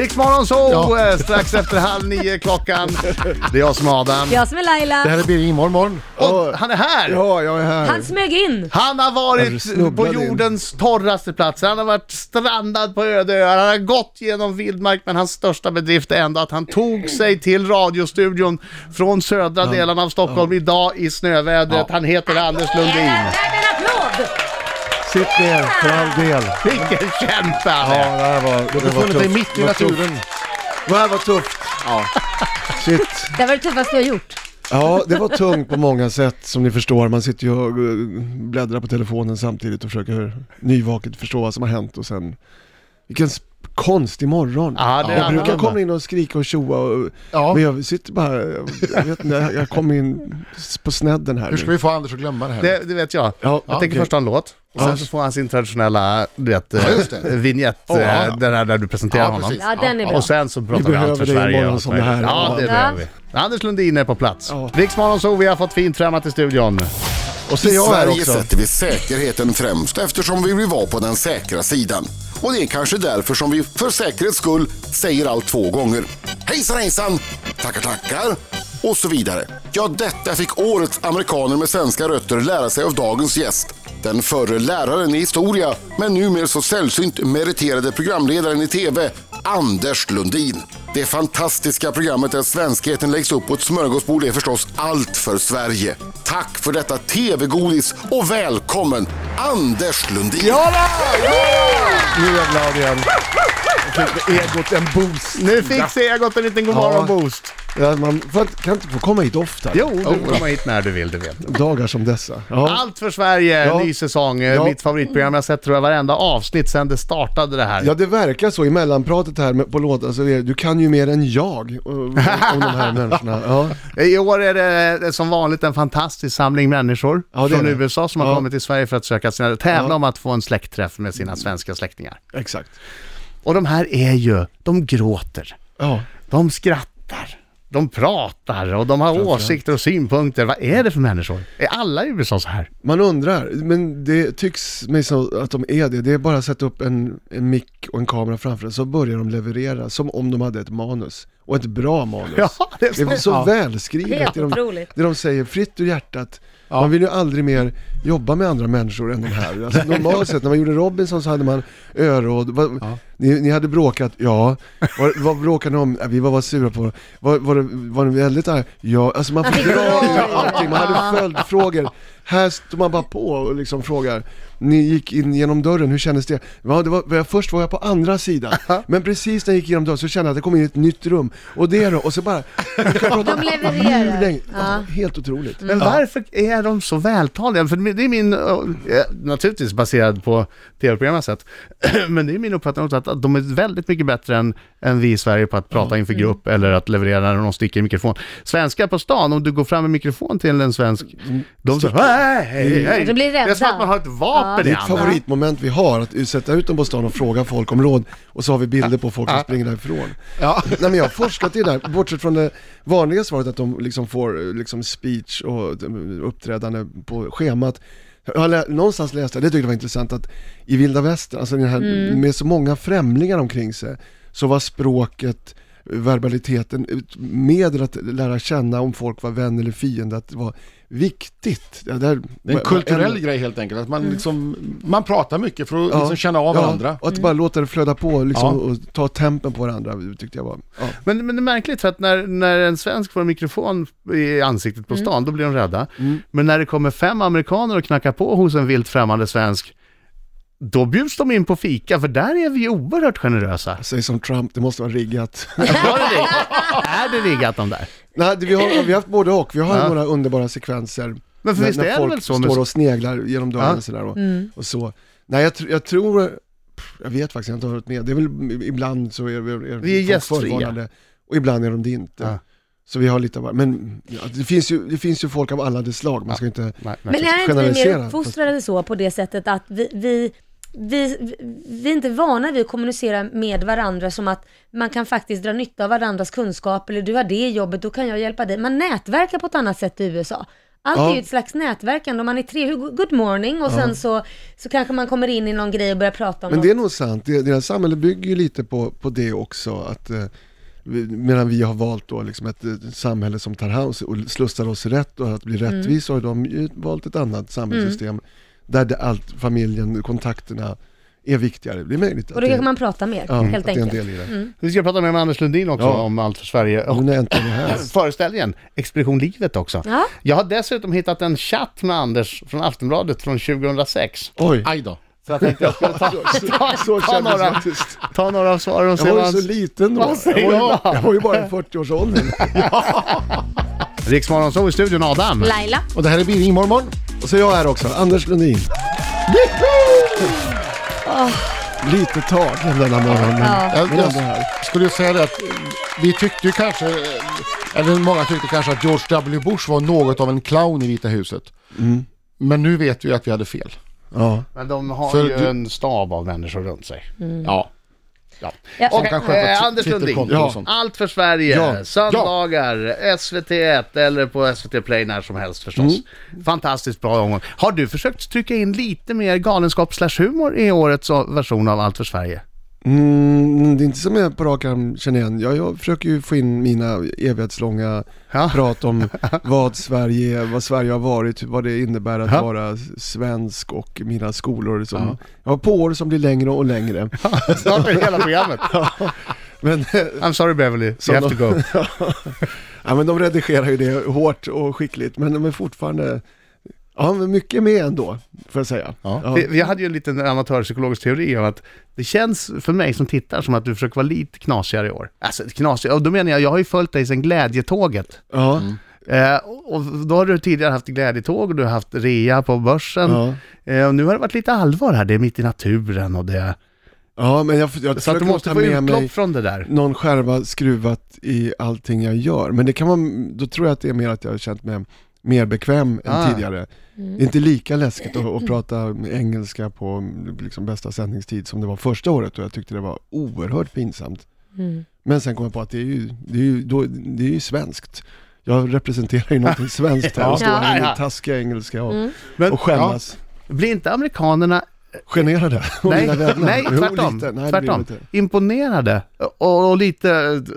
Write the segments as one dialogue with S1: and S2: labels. S1: Riksmorgon så
S2: Ja.
S1: eh, strax efter halv nio klockan. Det är jag som är Adam.
S3: Jag som är
S2: Det
S3: Laila.
S2: här är Birgit morgon.
S1: Och han är här!
S4: Ja, jag är här.
S3: Han smög in.
S1: Han har
S4: Jag
S1: varit på
S4: snubblade in.
S1: jordens torraste plats. Han har varit strandad på öde öar. Han har gått genom vildmark, men hans största bedrift är ändå att han tog sig till radiostudion från södra delen av Stockholm idag i snövädret. Han heter Anders Lundin.
S3: en applåd!
S2: Sitt ner för all del.
S1: Vilken kämpe han
S4: Ja, det
S1: är!
S4: här var, det
S2: Du har
S4: var
S2: funnit dig
S4: tufft.
S2: mitt i
S4: Det var tufft.
S2: naturen.
S4: Det här var tufft. Ja. Shit.
S3: Det var det tuffaste jag gjort.
S4: Ja, det var tungt på många sätt som ni förstår. Man sitter ju och eh, bläddrar på telefonen samtidigt och försöker nyvaket förstå vad som har hänt och sen... Vilken sp- konstig morgon.
S1: Ja, det är
S4: jag brukar
S1: annorlunda.
S4: komma in och skrika och tjoa och...
S2: Ja.
S4: Men jag sitter bara... Jag vet inte, jag kom in s- på snedden här
S2: Hur ska
S4: nu.
S2: vi få Anders att glömma det här?
S1: Det, det vet jag.
S4: Ja,
S1: Jag tänker
S2: okej.
S1: först ha en låt, och sen
S2: Ja.
S1: så får han sin traditionella, du vet, eh,
S2: just det.
S1: vignett,
S2: Oh,
S1: eh,
S2: ja, ja.
S1: den här där du presenterar
S2: Ja,
S1: honom.
S2: precis.
S3: Ja, den är bra.
S1: Och sen så pratar vi,
S4: behöver
S1: allt för
S4: dig
S1: Sverige.
S4: imorgon
S1: och allt
S4: som det
S1: möjligt.
S4: här.
S1: Ja, det
S3: Ja.
S1: behöver vi. Anders Lundin är på plats. Ja.
S4: Ja.
S1: Riksmorgon så vi har fått fint främmat i studion.
S4: Och så är
S5: I
S4: Alltså, jag här
S5: Sverige
S4: också.
S5: sätter vi säkerheten främst eftersom vi vill vara på den säkra sidan. Och det är kanske därför som vi för säkerhets skull säger allt två gånger. Hejsan hejsan! Tackar tackar! Och så vidare. Ja, detta fick årets amerikaner med svenska rötter lära sig av dagens gäst. Den förre läraren i historia, men numera så sällsynt meriterade programledaren i TV, Anders Lundin. Det fantastiska programmet där svenskheten läggs upp på ett smörgåsbord är förstås allt för Sverige. Tack för detta TV-godis och välkommen Anders Lundin!
S4: Nu är jag glad igen. Jag fick egot en boost.
S1: Nu fick Segot en liten godmorgon-boost.
S4: Ja, man för, kan inte få komma i doft här.
S1: Jo, du får komma Oh, hit när du vill, du vet.
S4: Dagar som dessa. Ja.
S1: Allt för Sverige,
S4: Ja.
S1: ny säsong. eh,
S4: Ja.
S1: Mitt favoritprogram. Jag har sett tror jag varenda avsnitt sedan det startade det här.
S4: Ja det verkar så i mellanpratet här med, på låten, så det, du kan ju mer än jag eh, om de här människorna. Ja.
S1: I år är det som vanligt en fantastisk samling människor
S4: Ja, det
S1: från
S4: är det.
S1: USA som har
S4: Ja.
S1: kommit till Sverige för att söka sina, tävla
S4: Ja.
S1: om att få en släktträff med sina svenska släktingar.
S4: Exakt.
S1: Och de här är ju, de gråter.
S4: Ja.
S1: De skrattar, de pratar och de har åsikter och synpunkter. Vad är det för människor? Är alla i USA så här?
S4: Man undrar, men det tycks mig så att de är det. Det är bara att sätta upp en, en mick och en kamera framför den så börjar de leverera som om de hade ett manus. Och ett bra manus.
S1: Ja, det är
S4: det är så
S1: Ja.
S4: välskrivet.
S3: Helt
S4: det, de,
S3: otroligt.
S4: det de säger fritt ur hjärtat. Man vill ju aldrig mer jobba med andra människor än de här. Alltså, normalt sett när man gjorde Robinson så hade man öråd. Vad- Ni, ni hade bråkat, ja. Vad, vad bråkade ni om? "Ja, Vi var bara sura på Var, var, det, var ni väldigt arga? Ja, alltså man
S3: fick
S4: fick dra
S3: dra
S4: ur
S3: i-
S4: allting. Man hade följdfrågor. Här står man bara på och liksom frågar. Ni gick in genom dörren, hur kändes det? Ja, det var, var jag, först var jag på andra sidan, men precis när jag gick genom dörren så kände jag att det kom in ett nytt rum. Och det då, och så bara... vi kan prata om
S3: De levererar.
S4: hur länge-
S3: Ja.
S4: Helt otroligt.
S1: Men varför är de så vältaliga? För det är min, eh, naturligtvis baserad på tv-program jag har sett, men det är min uppfattning också att att de är väldigt mycket bättre än, än vi i Sverige på att prata inför grupp eller att leverera när någon sticker i mikrofon. Svenskar på stan, om du går fram med mikrofon till en svensk, de säger hej, hej, hej.
S3: De blir
S1: Det är som att
S3: rädda.
S1: man har ett vapen i
S4: Mitt
S1: handen.
S4: favoritmoment vi har, att sätta ut dem på stan och fråga folk om råd och så har vi bilder på folk som springer därifrån.
S2: Ja.
S4: Nej men jag har forskat i det här, bortsett från det vanliga svaret att de liksom får eh, liksom speech och eh, uppträdande på schemat. Jag har lä- någonstans läst det, det tyckte jag var intressant, att i vilda västern, alltså den här, med så många främlingar omkring sig, så var språket verbaliteten, ut- medel att lära känna om folk var vän eller fiende, att det var viktigt. Ja, det, här,
S2: Det är en kulturell
S4: en-
S2: grej helt enkelt, att man, liksom, man pratar mycket för att
S4: Ja.
S2: liksom känna av
S4: Ja,
S2: varandra.
S4: Och att
S3: Mm.
S4: bara låta det flöda på liksom,
S2: Ja.
S4: och ta tempen på varandra tyckte jag var... Ja.
S1: Men, men det är märkligt för att när, när en svensk får en mikrofon i ansiktet på stan, då blir de rädda. Men när det kommer fem amerikaner och knackar på hos en vilt främmande svensk, då bjuds de in på fika, för där är vi ju oerhört generösa.
S4: Säg som Trump, det måste vara riggat.
S1: Var det riggat? är det riggat de där?
S4: Nej, det, vi, har, vi har haft både och. Vi har några underbara sekvenser.
S1: Men för
S4: när,
S1: visst är
S4: när
S1: det
S4: folk
S1: väl så med-
S4: står och sneglar genom dörren
S1: Ja.
S4: och sådär och,
S3: Mm.
S4: och så. Nej, jag, tr- jag tror... pff, Jag vet faktiskt, jag har inte varit med. Det är väl i- ibland så är, är,
S1: Vi
S4: är
S1: är
S4: folk
S1: gästfria.
S4: förvarnade och ibland är de det inte.
S1: Ja.
S4: Så vi har lite av var- Men ja, det, finns ju, det finns ju folk av alla de slag, man ska inte...
S1: Nej, nej.
S3: Men är inte vi mer
S4: generalisera.
S3: uppfostrade så på det sättet att vi, vi, vi, vi är inte vana vid att kommunicera med varandra som att man kan faktiskt dra nytta av varandras kunskap eller du har det jobbet, då kan jag hjälpa dig. Man nätverkar på ett annat sätt i USA. Allt
S4: Ja.
S3: är ju ett slags nätverkande. Om man är tre, hur- good morning och sen så, så kanske man kommer in i någon grej och börjar prata om
S4: Men
S3: något.
S4: det är nog sant, Det- deras samhälle bygger ju lite på, på det också, att eh, vi- medan vi har valt då liksom ett eh, samhälle som tar hand och slussar oss rätt och att bli
S3: Mm.
S4: rättvis har ju de ju valt ett annat samhällssystem där det allt, familjen, kontakterna är viktigare. Det är möjligt att
S3: Och då
S4: det,
S3: kanske man pratar mer,
S4: ja,
S3: helt
S4: att det är en
S3: enkelt. Mm.
S4: del i det.
S1: Vi ska prata mer med Anders Lundin också
S4: Ja.
S1: om Allt för Sverige och
S4: Hon är äntligen här.
S1: föreställningen Expedition Livet också.
S3: Ja.
S1: Jag har dessutom hittat en chatt med Anders från Aftonbladet från 2006.
S4: Oj!
S2: Aj då.
S1: Så jag tänkte jag skulle ta, ta,
S4: Så
S1: ta,
S4: kändes det
S1: några,
S4: faktiskt.
S1: ta några av svaren och se
S4: Jag
S1: vad
S4: var ju
S1: han
S4: så liten då.
S1: Vad
S4: Jag
S1: säger
S4: var ju,
S1: jag?
S4: jag var ju bara i 40-årsåldern.
S1: Riksmorgon så i studion, Adam.
S3: Laila,
S2: Och det här är Billing morgon.
S4: Och så är jag här också, Anders Lundin. Lite tagen denna morgon, men,
S3: Ja.
S4: men
S2: Jag,
S4: ändå här.
S2: jag skulle ju säga det att eh, vi tyckte ju kanske, eh, eller många tyckte kanske att George W. Bush var något av en clown i Vita huset. Men nu vet vi ju att vi hade fel.
S4: Ja.
S1: Men de har
S2: För
S1: ju
S2: du-
S1: en stab av människor runt sig.
S2: Ja.
S3: ja,
S1: Okej,
S2: kan sköta
S1: eh,
S2: t-
S1: Anders Lundin.
S2: Twitterkonto och
S1: Ja.
S2: sånt.
S1: Allt för Sverige,
S4: Ja.
S1: söndagar, SVT1 eller på SVT Play när som helst förstås.
S2: Mm.
S1: Fantastiskt bra omgång. Har du försökt trycka in lite mer galenskap slash humor i årets version av Allt för Sverige?
S4: Mm, det är inte som jag på rak arm känner igen. Jag, jag försöker ju få in mina evighetslånga
S1: Ja.
S4: prat om vad Sverige är, vad Sverige har varit, vad det innebär att
S1: Ja.
S4: vara svensk och mina skolor. Som, Jag har påor som blir längre och längre.
S1: Snart är det hela programmet.
S4: Men
S1: I'm sorry Beverly, you
S4: Som
S1: have to go.
S4: Ja men de redigerar ju det hårt och skickligt, men de är fortfarande Ja, men mycket med ändå, får jag säga.
S2: Ja.
S1: Vi, vi hade ju en liten amatörpsykologisk teori om att det känns för mig som tittar som att du försöker vara lite knasigare i år. Alltså knasigare, och då menar jag, jag har ju följt dig sedan Glädjetåget.
S4: Ja.
S1: Eh, och och då har du tidigare haft glädjetåg och du har haft rea på börsen.
S4: Ja.
S1: Eh, och nu har det varit lite allvar här, det är mitt i naturen och det...
S4: ja, men jag, jag
S1: Så att du
S4: försöker
S1: måste
S4: måste
S1: få
S4: ta med
S1: utlopp
S4: mig
S1: från det där.
S4: någon skärva skruvat i allting jag gör. Men det kan man, då tror jag att det är mer att jag har känt mig mer bekväm än
S1: Ah.
S4: tidigare. Det är inte lika läskigt att, att prata engelska på liksom, bästa sändningstid som det var första året och jag tyckte det var oerhört pinsamt. Men sen kom jag på att det är ju, det är ju, då, det är ju svenskt. Jag representerar ju någonting svenskt här och står här med min taskiga engelska och,
S1: Men-
S4: och skämmas.
S1: Blir inte amerikanerna...
S4: Generade. Och
S1: Nej,
S4: mina vänner.
S1: nej
S4: Jo,
S1: tvärtom.
S4: lite. Nej, det blir
S1: tvärtom.
S4: lite.
S1: Imponerade och, och lite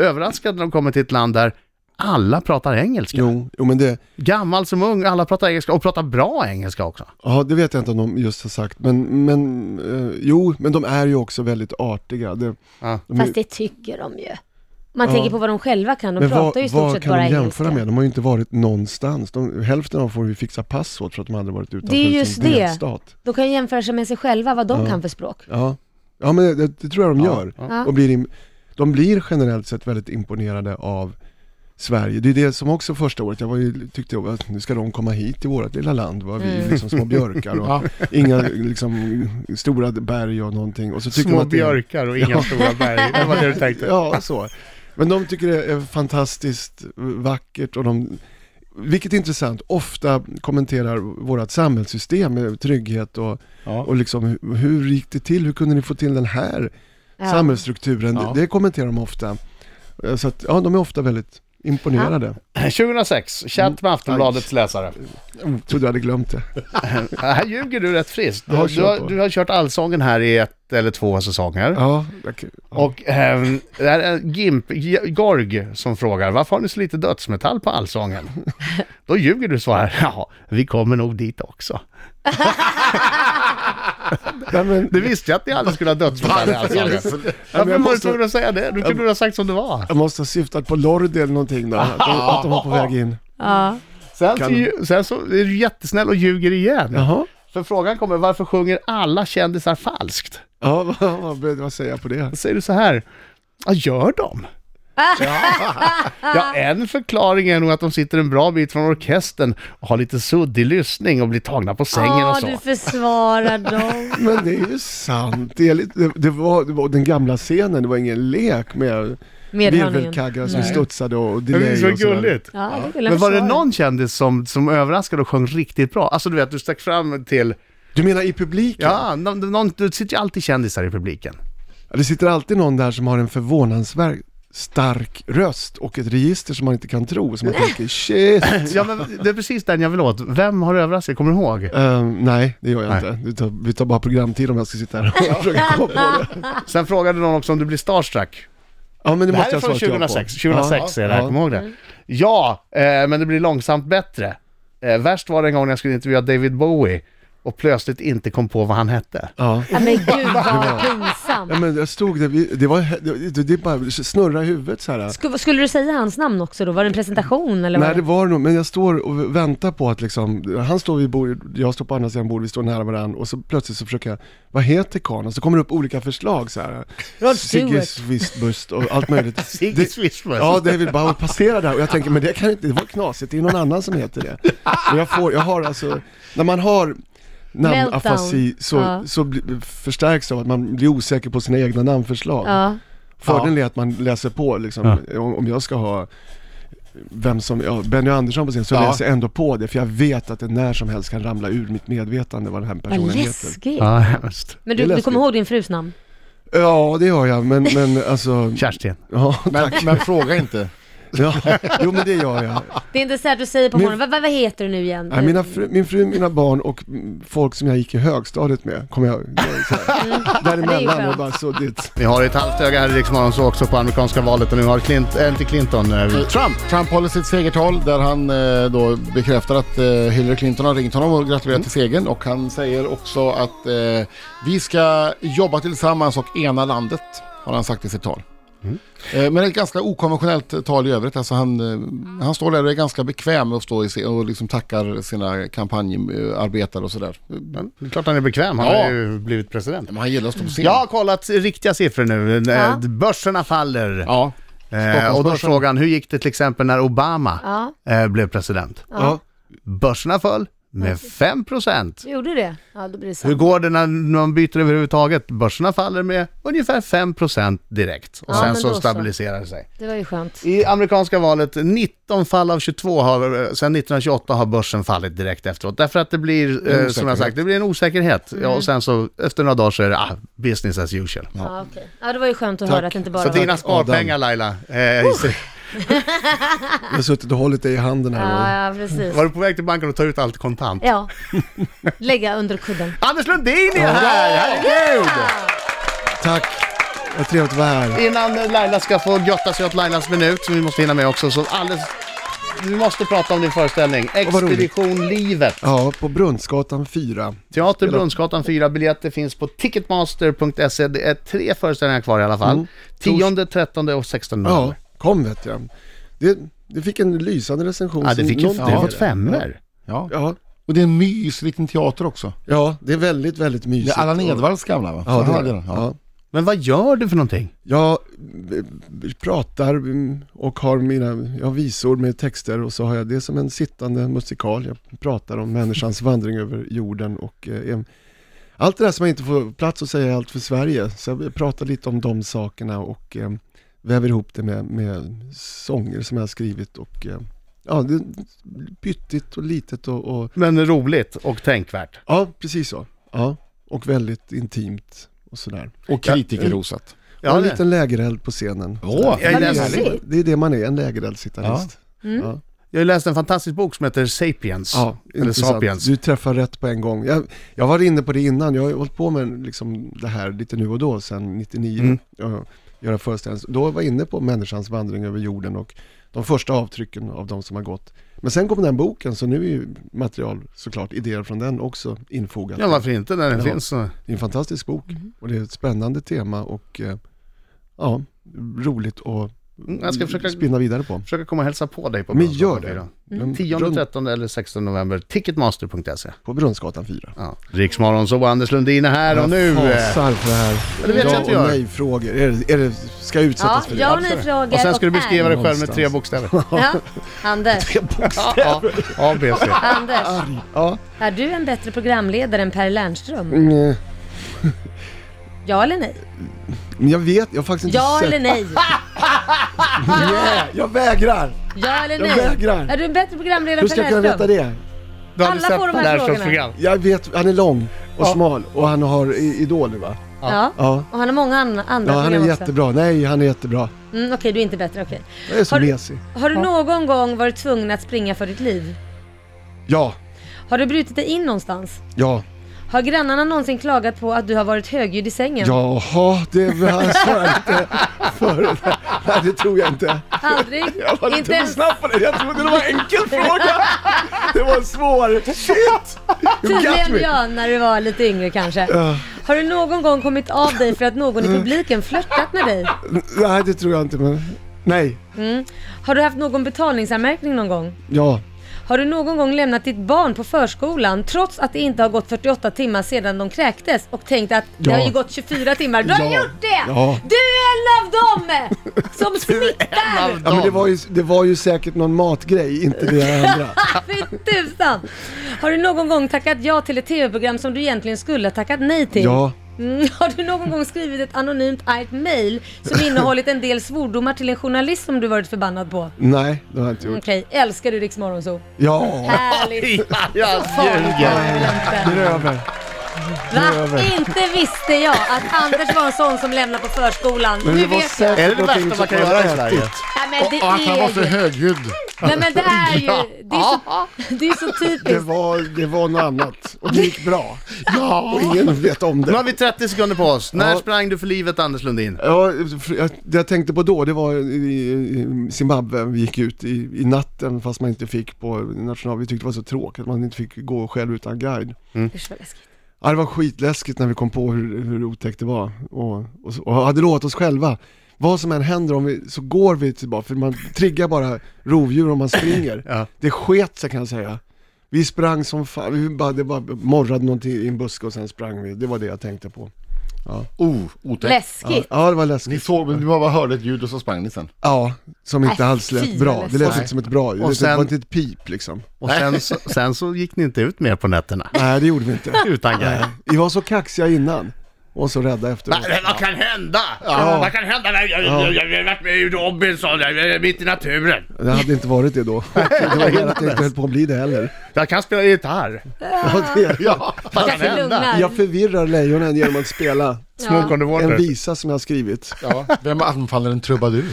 S1: överraskade när de kommer till ett land där alla pratar engelska.
S4: Jo, jo, men det,
S1: Gammal som ung, alla pratar engelska och pratar bra engelska också.
S4: Ja, det vet jag inte om de just har sagt, men, men eh, jo, men de är ju också väldigt artiga. Det,
S1: Ja.
S4: de är-
S3: fast det tycker de ju. Man tänker på vad de själva kan, de
S4: men
S3: pratar ju i
S4: vad,
S3: stort
S4: vad
S3: sett
S4: kan
S3: bara
S4: de jämföra
S3: engelska.
S4: med? De har ju inte varit någonstans. De, hälften av dem får vi fixa pass åt för att de aldrig varit utanför
S3: Det är just
S4: sin
S3: det.
S4: delstat.
S3: De kan ju jämföra sig med sig själva, vad de kan för språk.
S4: Ja, ja men det, det tror jag de gör.
S3: ja.
S4: Och blir im- de blir generellt sett väldigt imponerade av Sverige. Det är det som också första året, jag var ju, tyckte jag att nu ska de komma hit till vårt lilla land, var vi liksom små björkar och
S2: Ja.
S4: inga liksom, stora berg och någonting. Och så tycker de
S1: Små typ.
S4: att det är-
S1: björkar och inga stora berg. Det var det du tänkte.
S4: Ja, så. Men de tycker det är fantastiskt vackert och de, vilket är intressant, ofta kommenterar vårt samhällssystem med trygghet och, och liksom hur, hur gick det till, hur kunde ni få till den här
S3: Ja.
S4: samhällsstrukturen?
S2: Ja.
S4: Det, det kommenterar de ofta. Eh, Så att, ja, de är ofta väldigt imponerade.
S1: 2006, Eh, chatt
S4: Mm.
S1: med Aftonbladets läsare.
S4: Trodde jag hade glömt det.
S1: Ja, Här ljuger du rätt friskt. Du,
S4: Jag har
S1: du, har-
S4: kört på.
S1: du har kört allsången här i ett eller två säsonger.
S4: Ja, okej. Ja.
S1: Och ehm, det här är Gimp, G- Gorg som frågar, varför har ni så lite dödsmetall på allsången? Då ljuger du så här, ja, vi kommer nog dit också.
S4: Nej, men,
S1: Det visste jag att ni aldrig skulle ha dödsmetall i allsången.
S4: jag
S1: Varför var du
S4: måste-
S1: tvungen att säga det? Du kunde ha sagt som det var.
S4: jag måste ha syftat på Lordi eller någonting då, att de, att de var på väg in.
S3: Ja.
S1: Sen, så, ju- sen så är du jättesnäll och ljuger igen.
S4: Jaha,
S1: För frågan kommer, varför sjunger alla kändisar falskt?
S4: ja, vad, vad, vad, vad säger jag på det?
S1: Då säger du så här, ja gör de? ja, en förklaring är nog att de sitter en bra bit från orkestern och har lite suddig lyssning och blir tagna på sängen
S3: Ja,
S1: och så.
S3: du försvarar dem.
S4: Men det är ju sant. Det, är lite, det, det, var, det var den gamla scenen, det var ingen lek med
S3: Med hörningen.
S4: virvelkaggar som studsade och
S1: Men det
S4: delay
S1: är
S4: och
S1: så
S4: sådär.
S1: gulligt.
S3: Ja, det vill jag
S1: Men var det
S3: försvara.
S1: någon kändis som, som överraskade och sjöng riktigt bra? Alltså du vet, du stack fram till...
S4: Du menar i publiken?
S1: Ja, någon, någon, det sitter ju alltid kändisar i publiken.
S4: Ja, Det sitter alltid någon där som har en förvånansvärt stark röst och ett register som man inte kan tro, som man tänker shit.
S1: Ja, men det är precis den jag vill åt. Vem har överraskat? Kommer du ihåg?
S4: Ehm, nej, det gör jag
S1: Nej.
S4: inte. Vi tar, vi tar bara programtid om jag ska sitta här och försöka komma på det.
S1: Sen frågade någon också om du blir starstruck.
S4: Ja, men det,
S1: Det
S4: måste
S1: här är
S4: jag
S1: från
S4: svara
S1: 2006. 2006 är det här, kommer du ihåg det? Ja, eh, men det blir långsamt bättre. Eh, värst var det en gång när jag skulle intervjua David Bowie och plötsligt inte kom på vad han hette.
S4: Ja.
S3: Ja, men gud vad pinsamt.
S4: ja, men jag stod där, vi- det var, det, det bara snurra i huvudet så här.
S3: Skulle, skulle du säga hans namn också då? Var det en presentation eller?
S4: Nej
S3: vad?
S4: det var nog, men jag står och väntar på att liksom, han står vid bordet, jag står på andra sidan bordet, vi står nära varandra och så plötsligt så försöker jag, vad heter karln? Och så kommer det upp olika förslag så här.
S3: Rod
S4: Sigge
S3: Stewart.
S4: Swissbust och allt möjligt.
S1: Sigge
S4: Det-
S1: Swissbust.
S4: Ja, David Bowie passerar där och jag tänker, men det kan inte, det var knasigt, det är någon annan som heter det. Och jag får, jag har alltså, när man har namnafasi
S3: Meltdown.
S4: så,
S3: Ja.
S4: så bli, förstärks det av att man blir osäker på sina egna namnförslag.
S3: Ja.
S4: Fördelen är att man läser på liksom, om, om jag ska ha vem som, ja, Benny Andersson på scen, så
S2: Ja.
S4: läser jag ändå på det för jag vet att det när som helst kan ramla ur mitt medvetande vad den här personen
S3: Vad
S4: heter.
S3: läskigt.
S1: Ja, hemskt.
S3: Men du,
S4: det är
S3: du kommer
S4: läskigt.
S3: ihåg din frus namn?
S4: Ja, det gör jag, men, men alltså,
S1: Kerstin.
S4: ja,
S2: Men, men fråga inte.
S4: ja, jo men det gör jag.
S3: Det är inte så att du säger på
S4: Min-
S3: morgonen, vad, vad, vad heter du nu igen?
S4: Nej, mina fru, min fru, mina barn och mm, folk som jag gick i högstadiet med, kommer jag det är så här,
S3: Mm. Det är
S4: däremellan
S3: ju
S4: och bara suddigt.
S1: Vi har ett halvt öga här i Riksmorgon så också på amerikanska valet och nu har Clint, äh, inte Clinton, eh, Trump.
S2: Trump håller sitt segertal där han eh, då bekräftar att eh, Hillary Clinton har ringt honom och gratulerat till segern och han säger också att eh, vi ska jobba tillsammans och ena landet har han sagt i sitt tal. Eh, Men ett ganska okonventionellt tal i övrigt. Alltså han, eh, han står där och är ganska bekväm med att stå i se- och liksom tackar sina kampanjarbetare och sådär.
S1: Men Det är klart han är bekväm, han
S2: Ja.
S1: har ju blivit president.
S2: Men han gillar att stå på scen.
S1: Jag har kollat riktiga siffror nu.
S3: Ja.
S1: Ja. Börserna faller. Eh,
S2: ja.
S1: och då är
S2: Stockholmsbörsen.
S1: frågan, hur gick det till exempel när Obama
S3: Ja,
S1: eh, blev president?
S4: Ja.
S1: Börserna föll med 5%.
S3: du gjorde det? Ja, då blir det sant.
S1: Hur går det när man byter överhuvudtaget? Börserna faller med ungefär 5% direkt och
S3: Ja,
S1: sen
S3: men
S1: så
S3: då så.
S1: stabiliserar det sig.
S3: Det var ju skönt.
S1: I amerikanska valet, 19 fall av 22 har, eh, sedan 1928 har börsen fallit direkt efteråt. Därför att det blir, eh, som jag
S2: osäkerhet.
S1: sagt, det blir en osäkerhet. Ja,
S3: Mm.
S1: och sen så efter några dagar så är det ah, business as usual.
S3: Ja, okej. ja det var ju skönt att höra att det inte bara
S1: Så dina
S3: var...
S1: sparpengar Laila, eh,
S4: Jag har suttit och hållit dig i handen här och
S3: Ja, ja, precis.
S1: var du på väg till banken och ta ut allt kontant?
S3: Ja, lägga under kudden.
S1: Anders Lundin är här! Herregud!
S4: tack, vad trevligt att vara här.
S1: Innan Laila ska få götta sig åt Lailas minut, som vi måste hinna med också, så alldeles... Vi måste prata om din föreställning,
S4: vad roligt.
S1: Expedition Livet.
S4: Ja, på Brunnsgatan 4.
S1: Teater Brunnsgatan 4, biljetter finns på ticketmaster.se. Det är tre föreställningar kvar i alla fall. 10, 13 och 16
S4: Ja,
S1: november.
S4: kom vet jag. Det, det fick en lysande recension.
S1: Ja, det
S4: som
S1: fick ju
S4: någon-
S1: du har fått femmer.
S2: ja.
S4: Ja,
S2: Och det är en mysig liten teater också.
S4: ja, det är väldigt, väldigt
S2: Det
S4: mysigt.
S2: är Allan Edwalls gamla va?
S4: Ja,
S2: Han
S4: det är
S2: hade
S4: det.
S2: den,
S4: Ja.
S1: Men vad gör du för någonting?
S4: Jag eh, pratar mm, och har mina jag har visor med texter och så har jag det som en sittande musikal. Jag pratar om människans vandring över jorden och eh, em- allt det där som jag inte får plats att säga i allt för Sverige. Så jag pratar lite om de sakerna och eh, väver ihop det med, med sånger som jag har skrivit och eh, ja, det är pyttigt och litet och, och
S1: Men roligt och tänkvärt.
S4: ja, precis så. Ja, och väldigt intimt och sådär.
S2: Och kritikerrosat.
S1: Ja,
S4: och en
S1: det.
S4: liten lägereld på scenen.
S2: Åh,
S1: Jag har
S3: Vad
S1: läst-
S3: mysigt.
S4: Det är Mm. det man är, en lägereldsgitarrist.
S1: jag har läst en fantastisk bok som heter Sapiens.
S4: Ja,
S1: Eller
S4: intressant.
S1: Sapiens.
S4: Du träffar rätt på en gång. Jag, jag var inne på det innan, jag har ju hållit på med liksom det här lite nu och då sedan 99.
S1: Mm.
S4: Ja, göra föreställningar. Då var jag inne på människans vandring över jorden och de första avtrycken av de som har gått. Men sen kom den boken, så nu är ju material såklart, idéer från den också infogat.
S1: Ja, varför inte när den
S4: Ja.
S1: finns? så.
S4: Det är en fantastisk bok och det är ett spännande tema och eh, ja, roligt att
S1: Mm, jag ska försöka-
S4: spinna vidare på.
S1: Försöka komma och hälsa på dig på
S4: Men
S1: Brunnsgatan
S4: gör det.
S1: 4.
S4: Mm.
S1: 10, 13 eller 16 november. Ticketmaster.se.
S4: På Brunnsgatan 4.
S1: Ja. Riksmorgon, så Anders Lundin är här och nu.
S4: Jag
S1: eh,
S4: fasar för det här.
S1: det vet jag
S4: ja
S1: att du gör.
S4: och nej-frågor. Är det, är det, ska jag
S3: Ja,
S4: utsättas för det?
S3: ja och ni frågar
S1: Och sen ska du beskriva
S3: är.
S1: dig själv med tre
S4: Någonstans.
S1: bokstäver.
S3: Ja, Anders,
S1: Ja, A, B, C.
S3: Anders,
S4: Ja.
S3: är du en bättre programledare än Per Lernström?
S4: Mm, eh,
S3: Ja eller nej?
S4: Men jag vet, jag har faktiskt inte
S3: Ja
S4: sett.
S3: eller nej?
S4: Nej, Jag vägrar!
S3: Ja eller
S4: Jag
S3: nej?
S4: vägrar.
S3: Är du en bättre programledare
S4: Hur
S3: än
S4: ska
S3: Per
S4: jag kunna veta
S3: Lernström?
S4: det?
S1: Du hade
S3: Alla får
S1: sett
S3: de här
S1: Larssons
S3: frågorna.
S1: program.
S4: Jag vet, han är lång och smal och han har i- idoler va?
S3: Ja.
S4: Ja.
S3: Och han har många an- andra
S4: Ja, han är
S3: program också.
S4: jättebra. Nej, han är jättebra.
S3: Mm, Okej, du är inte bättre. Okej.
S4: Jag är så
S3: Har du-
S4: mesig.
S3: Har du någon gång varit tvungen att springa för ditt liv?
S4: Ja,
S3: Har du brutit dig in någonstans?
S4: ja,
S3: Har grannarna någonsin klagat på att du har varit högljudd i sängen?
S4: jaha, det svarade jag inte förut. Nej, det tror jag inte.
S3: Aldrig?
S4: Jag var lite
S3: inte
S4: för
S3: ens
S4: snabb på det. Jag trodde det var en enkel fråga. Det var en svår. Shit! You got
S3: tydligen
S4: me.
S3: ja, när du var lite yngre kanske.
S4: Ja. Mm.
S3: Har du någon gång kommit av dig för att någon i publiken flörtat med dig?
S4: Nej, det tror jag inte, men... Nej,
S3: Har du haft någon betalningsanmärkning någon gång?
S4: ja.
S3: Har du någon gång lämnat ditt barn på förskolan trots att det inte har gått 48 timmar sedan de kräktes och tänkt att det
S4: Ja.
S3: har ju gått 24 timmar? Du har
S4: Ja.
S3: gjort det!
S4: Ja.
S3: Du är en av dem som smittar!
S4: Ja, men det var, ju, det var ju säkert någon matgrej, inte det andra.
S3: Fy tusan! Har du någon gång tackat ja till ett tv-program som du egentligen skulle ha tackat nej till?
S4: Ja,
S3: Mm, har du någon gång skrivit ett anonymt argt mail som innehållit en del svordomar till en journalist som du varit förbannad
S2: Mm.
S3: på?
S4: nej, det har jag inte gjort.
S3: Okej, älskar du Rix Morgonzoo?
S4: Ja,
S3: Härligt!
S1: Jag ljuger.
S4: det är över.
S3: Va? Inte visste jag att Anders var en sån som lämnade på förskolan.
S4: Men det
S3: Nu
S4: var
S3: vet jag.
S4: säkert
S1: Är det det
S4: någonting
S1: värsta
S4: som
S1: man kan
S4: var
S1: göra i
S4: ätit.
S1: Sverige?
S3: Nej men det
S2: Och att han var så
S3: är ju...
S2: högljudd.
S3: Nej men det är ju... Det är så, det är så
S4: Det
S3: typiskt.
S4: var, det var något annat och det gick bra. Ja. Och ingen vet om
S1: Nu
S4: det.
S1: har vi 30 sekunder på oss. När
S4: Ja.
S1: sprang du för livet Anders Lundin?
S4: Ja, för jag, det jag tänkte på då, det var i- i Zimbabwe, vi gick ut i, i natten fast man inte fick på national, vi tyckte det var så tråkigt att man inte fick gå själv utan guide.
S2: Mm.
S3: Usch vad läskigt.
S4: Ja, det var skitläskigt när vi kom på hur, hur otäckt det var och, och, så- och hade lovat oss själva. Vad som än händer om vi, så går vi tillbaka, för man triggar bara rovdjur om man springer.
S1: Ja.
S4: Det sket sig kan jag säga. Vi sprang som fan, vi bara, det bara morrade någonting i en buske och sen sprang vi. Det var det jag tänkte på.
S2: Oh, otäckt.
S4: Ja,
S3: Läskigt.
S4: ja det var
S2: Ni
S4: läskigt.
S2: såg, men du bara hörde ett ljud och så sprang ni sen.
S4: Ja, som inte
S3: Äh,
S4: alls
S3: fy,
S4: lät
S3: vad
S4: bra. Det
S3: läskigt.
S4: lät inte som ett bra ljud.
S1: Och
S4: Det
S1: sen-
S4: var inte ett pip liksom.
S1: Och sen så, sen så gick ni inte ut mer på nätterna.
S4: Nej, det gjorde vi inte.
S1: Utan
S4: Nej.
S1: grejer.
S4: Vi var så kaxiga innan och så rädda efteråt.
S1: Men vad kan hända? Vad kan hända? Jag, jag, jag, jag, jag har varit med i Robinson, jag är mitt i naturen.
S4: Det hade inte varit det då. Det var mer att det inte höll på att bli det heller.
S1: Jag kan spela gitarr.
S3: Ah.
S4: Ja, det-
S1: Vad
S3: Jag
S1: kan
S3: blir
S1: hända?
S3: lugnad.
S4: Jag förvirrar lejonen genom att spela
S1: Smoke on the
S4: en
S1: water.
S4: visa som jag har skrivit.
S2: Ja. Vem anfaller en trubadur?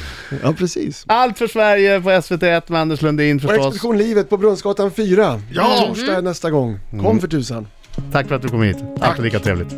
S4: Ja, precis.
S1: Allt för Sverige på SVT1 med Anders Lundin
S4: Och
S1: förstås.
S4: Expedition Livet på Brunnsgatan 4.
S2: Ja.
S3: Mhm.
S4: Torsdag är nästa gång. Kom för tusan.
S1: Tack för att du kom hit. Allt lika trevligt.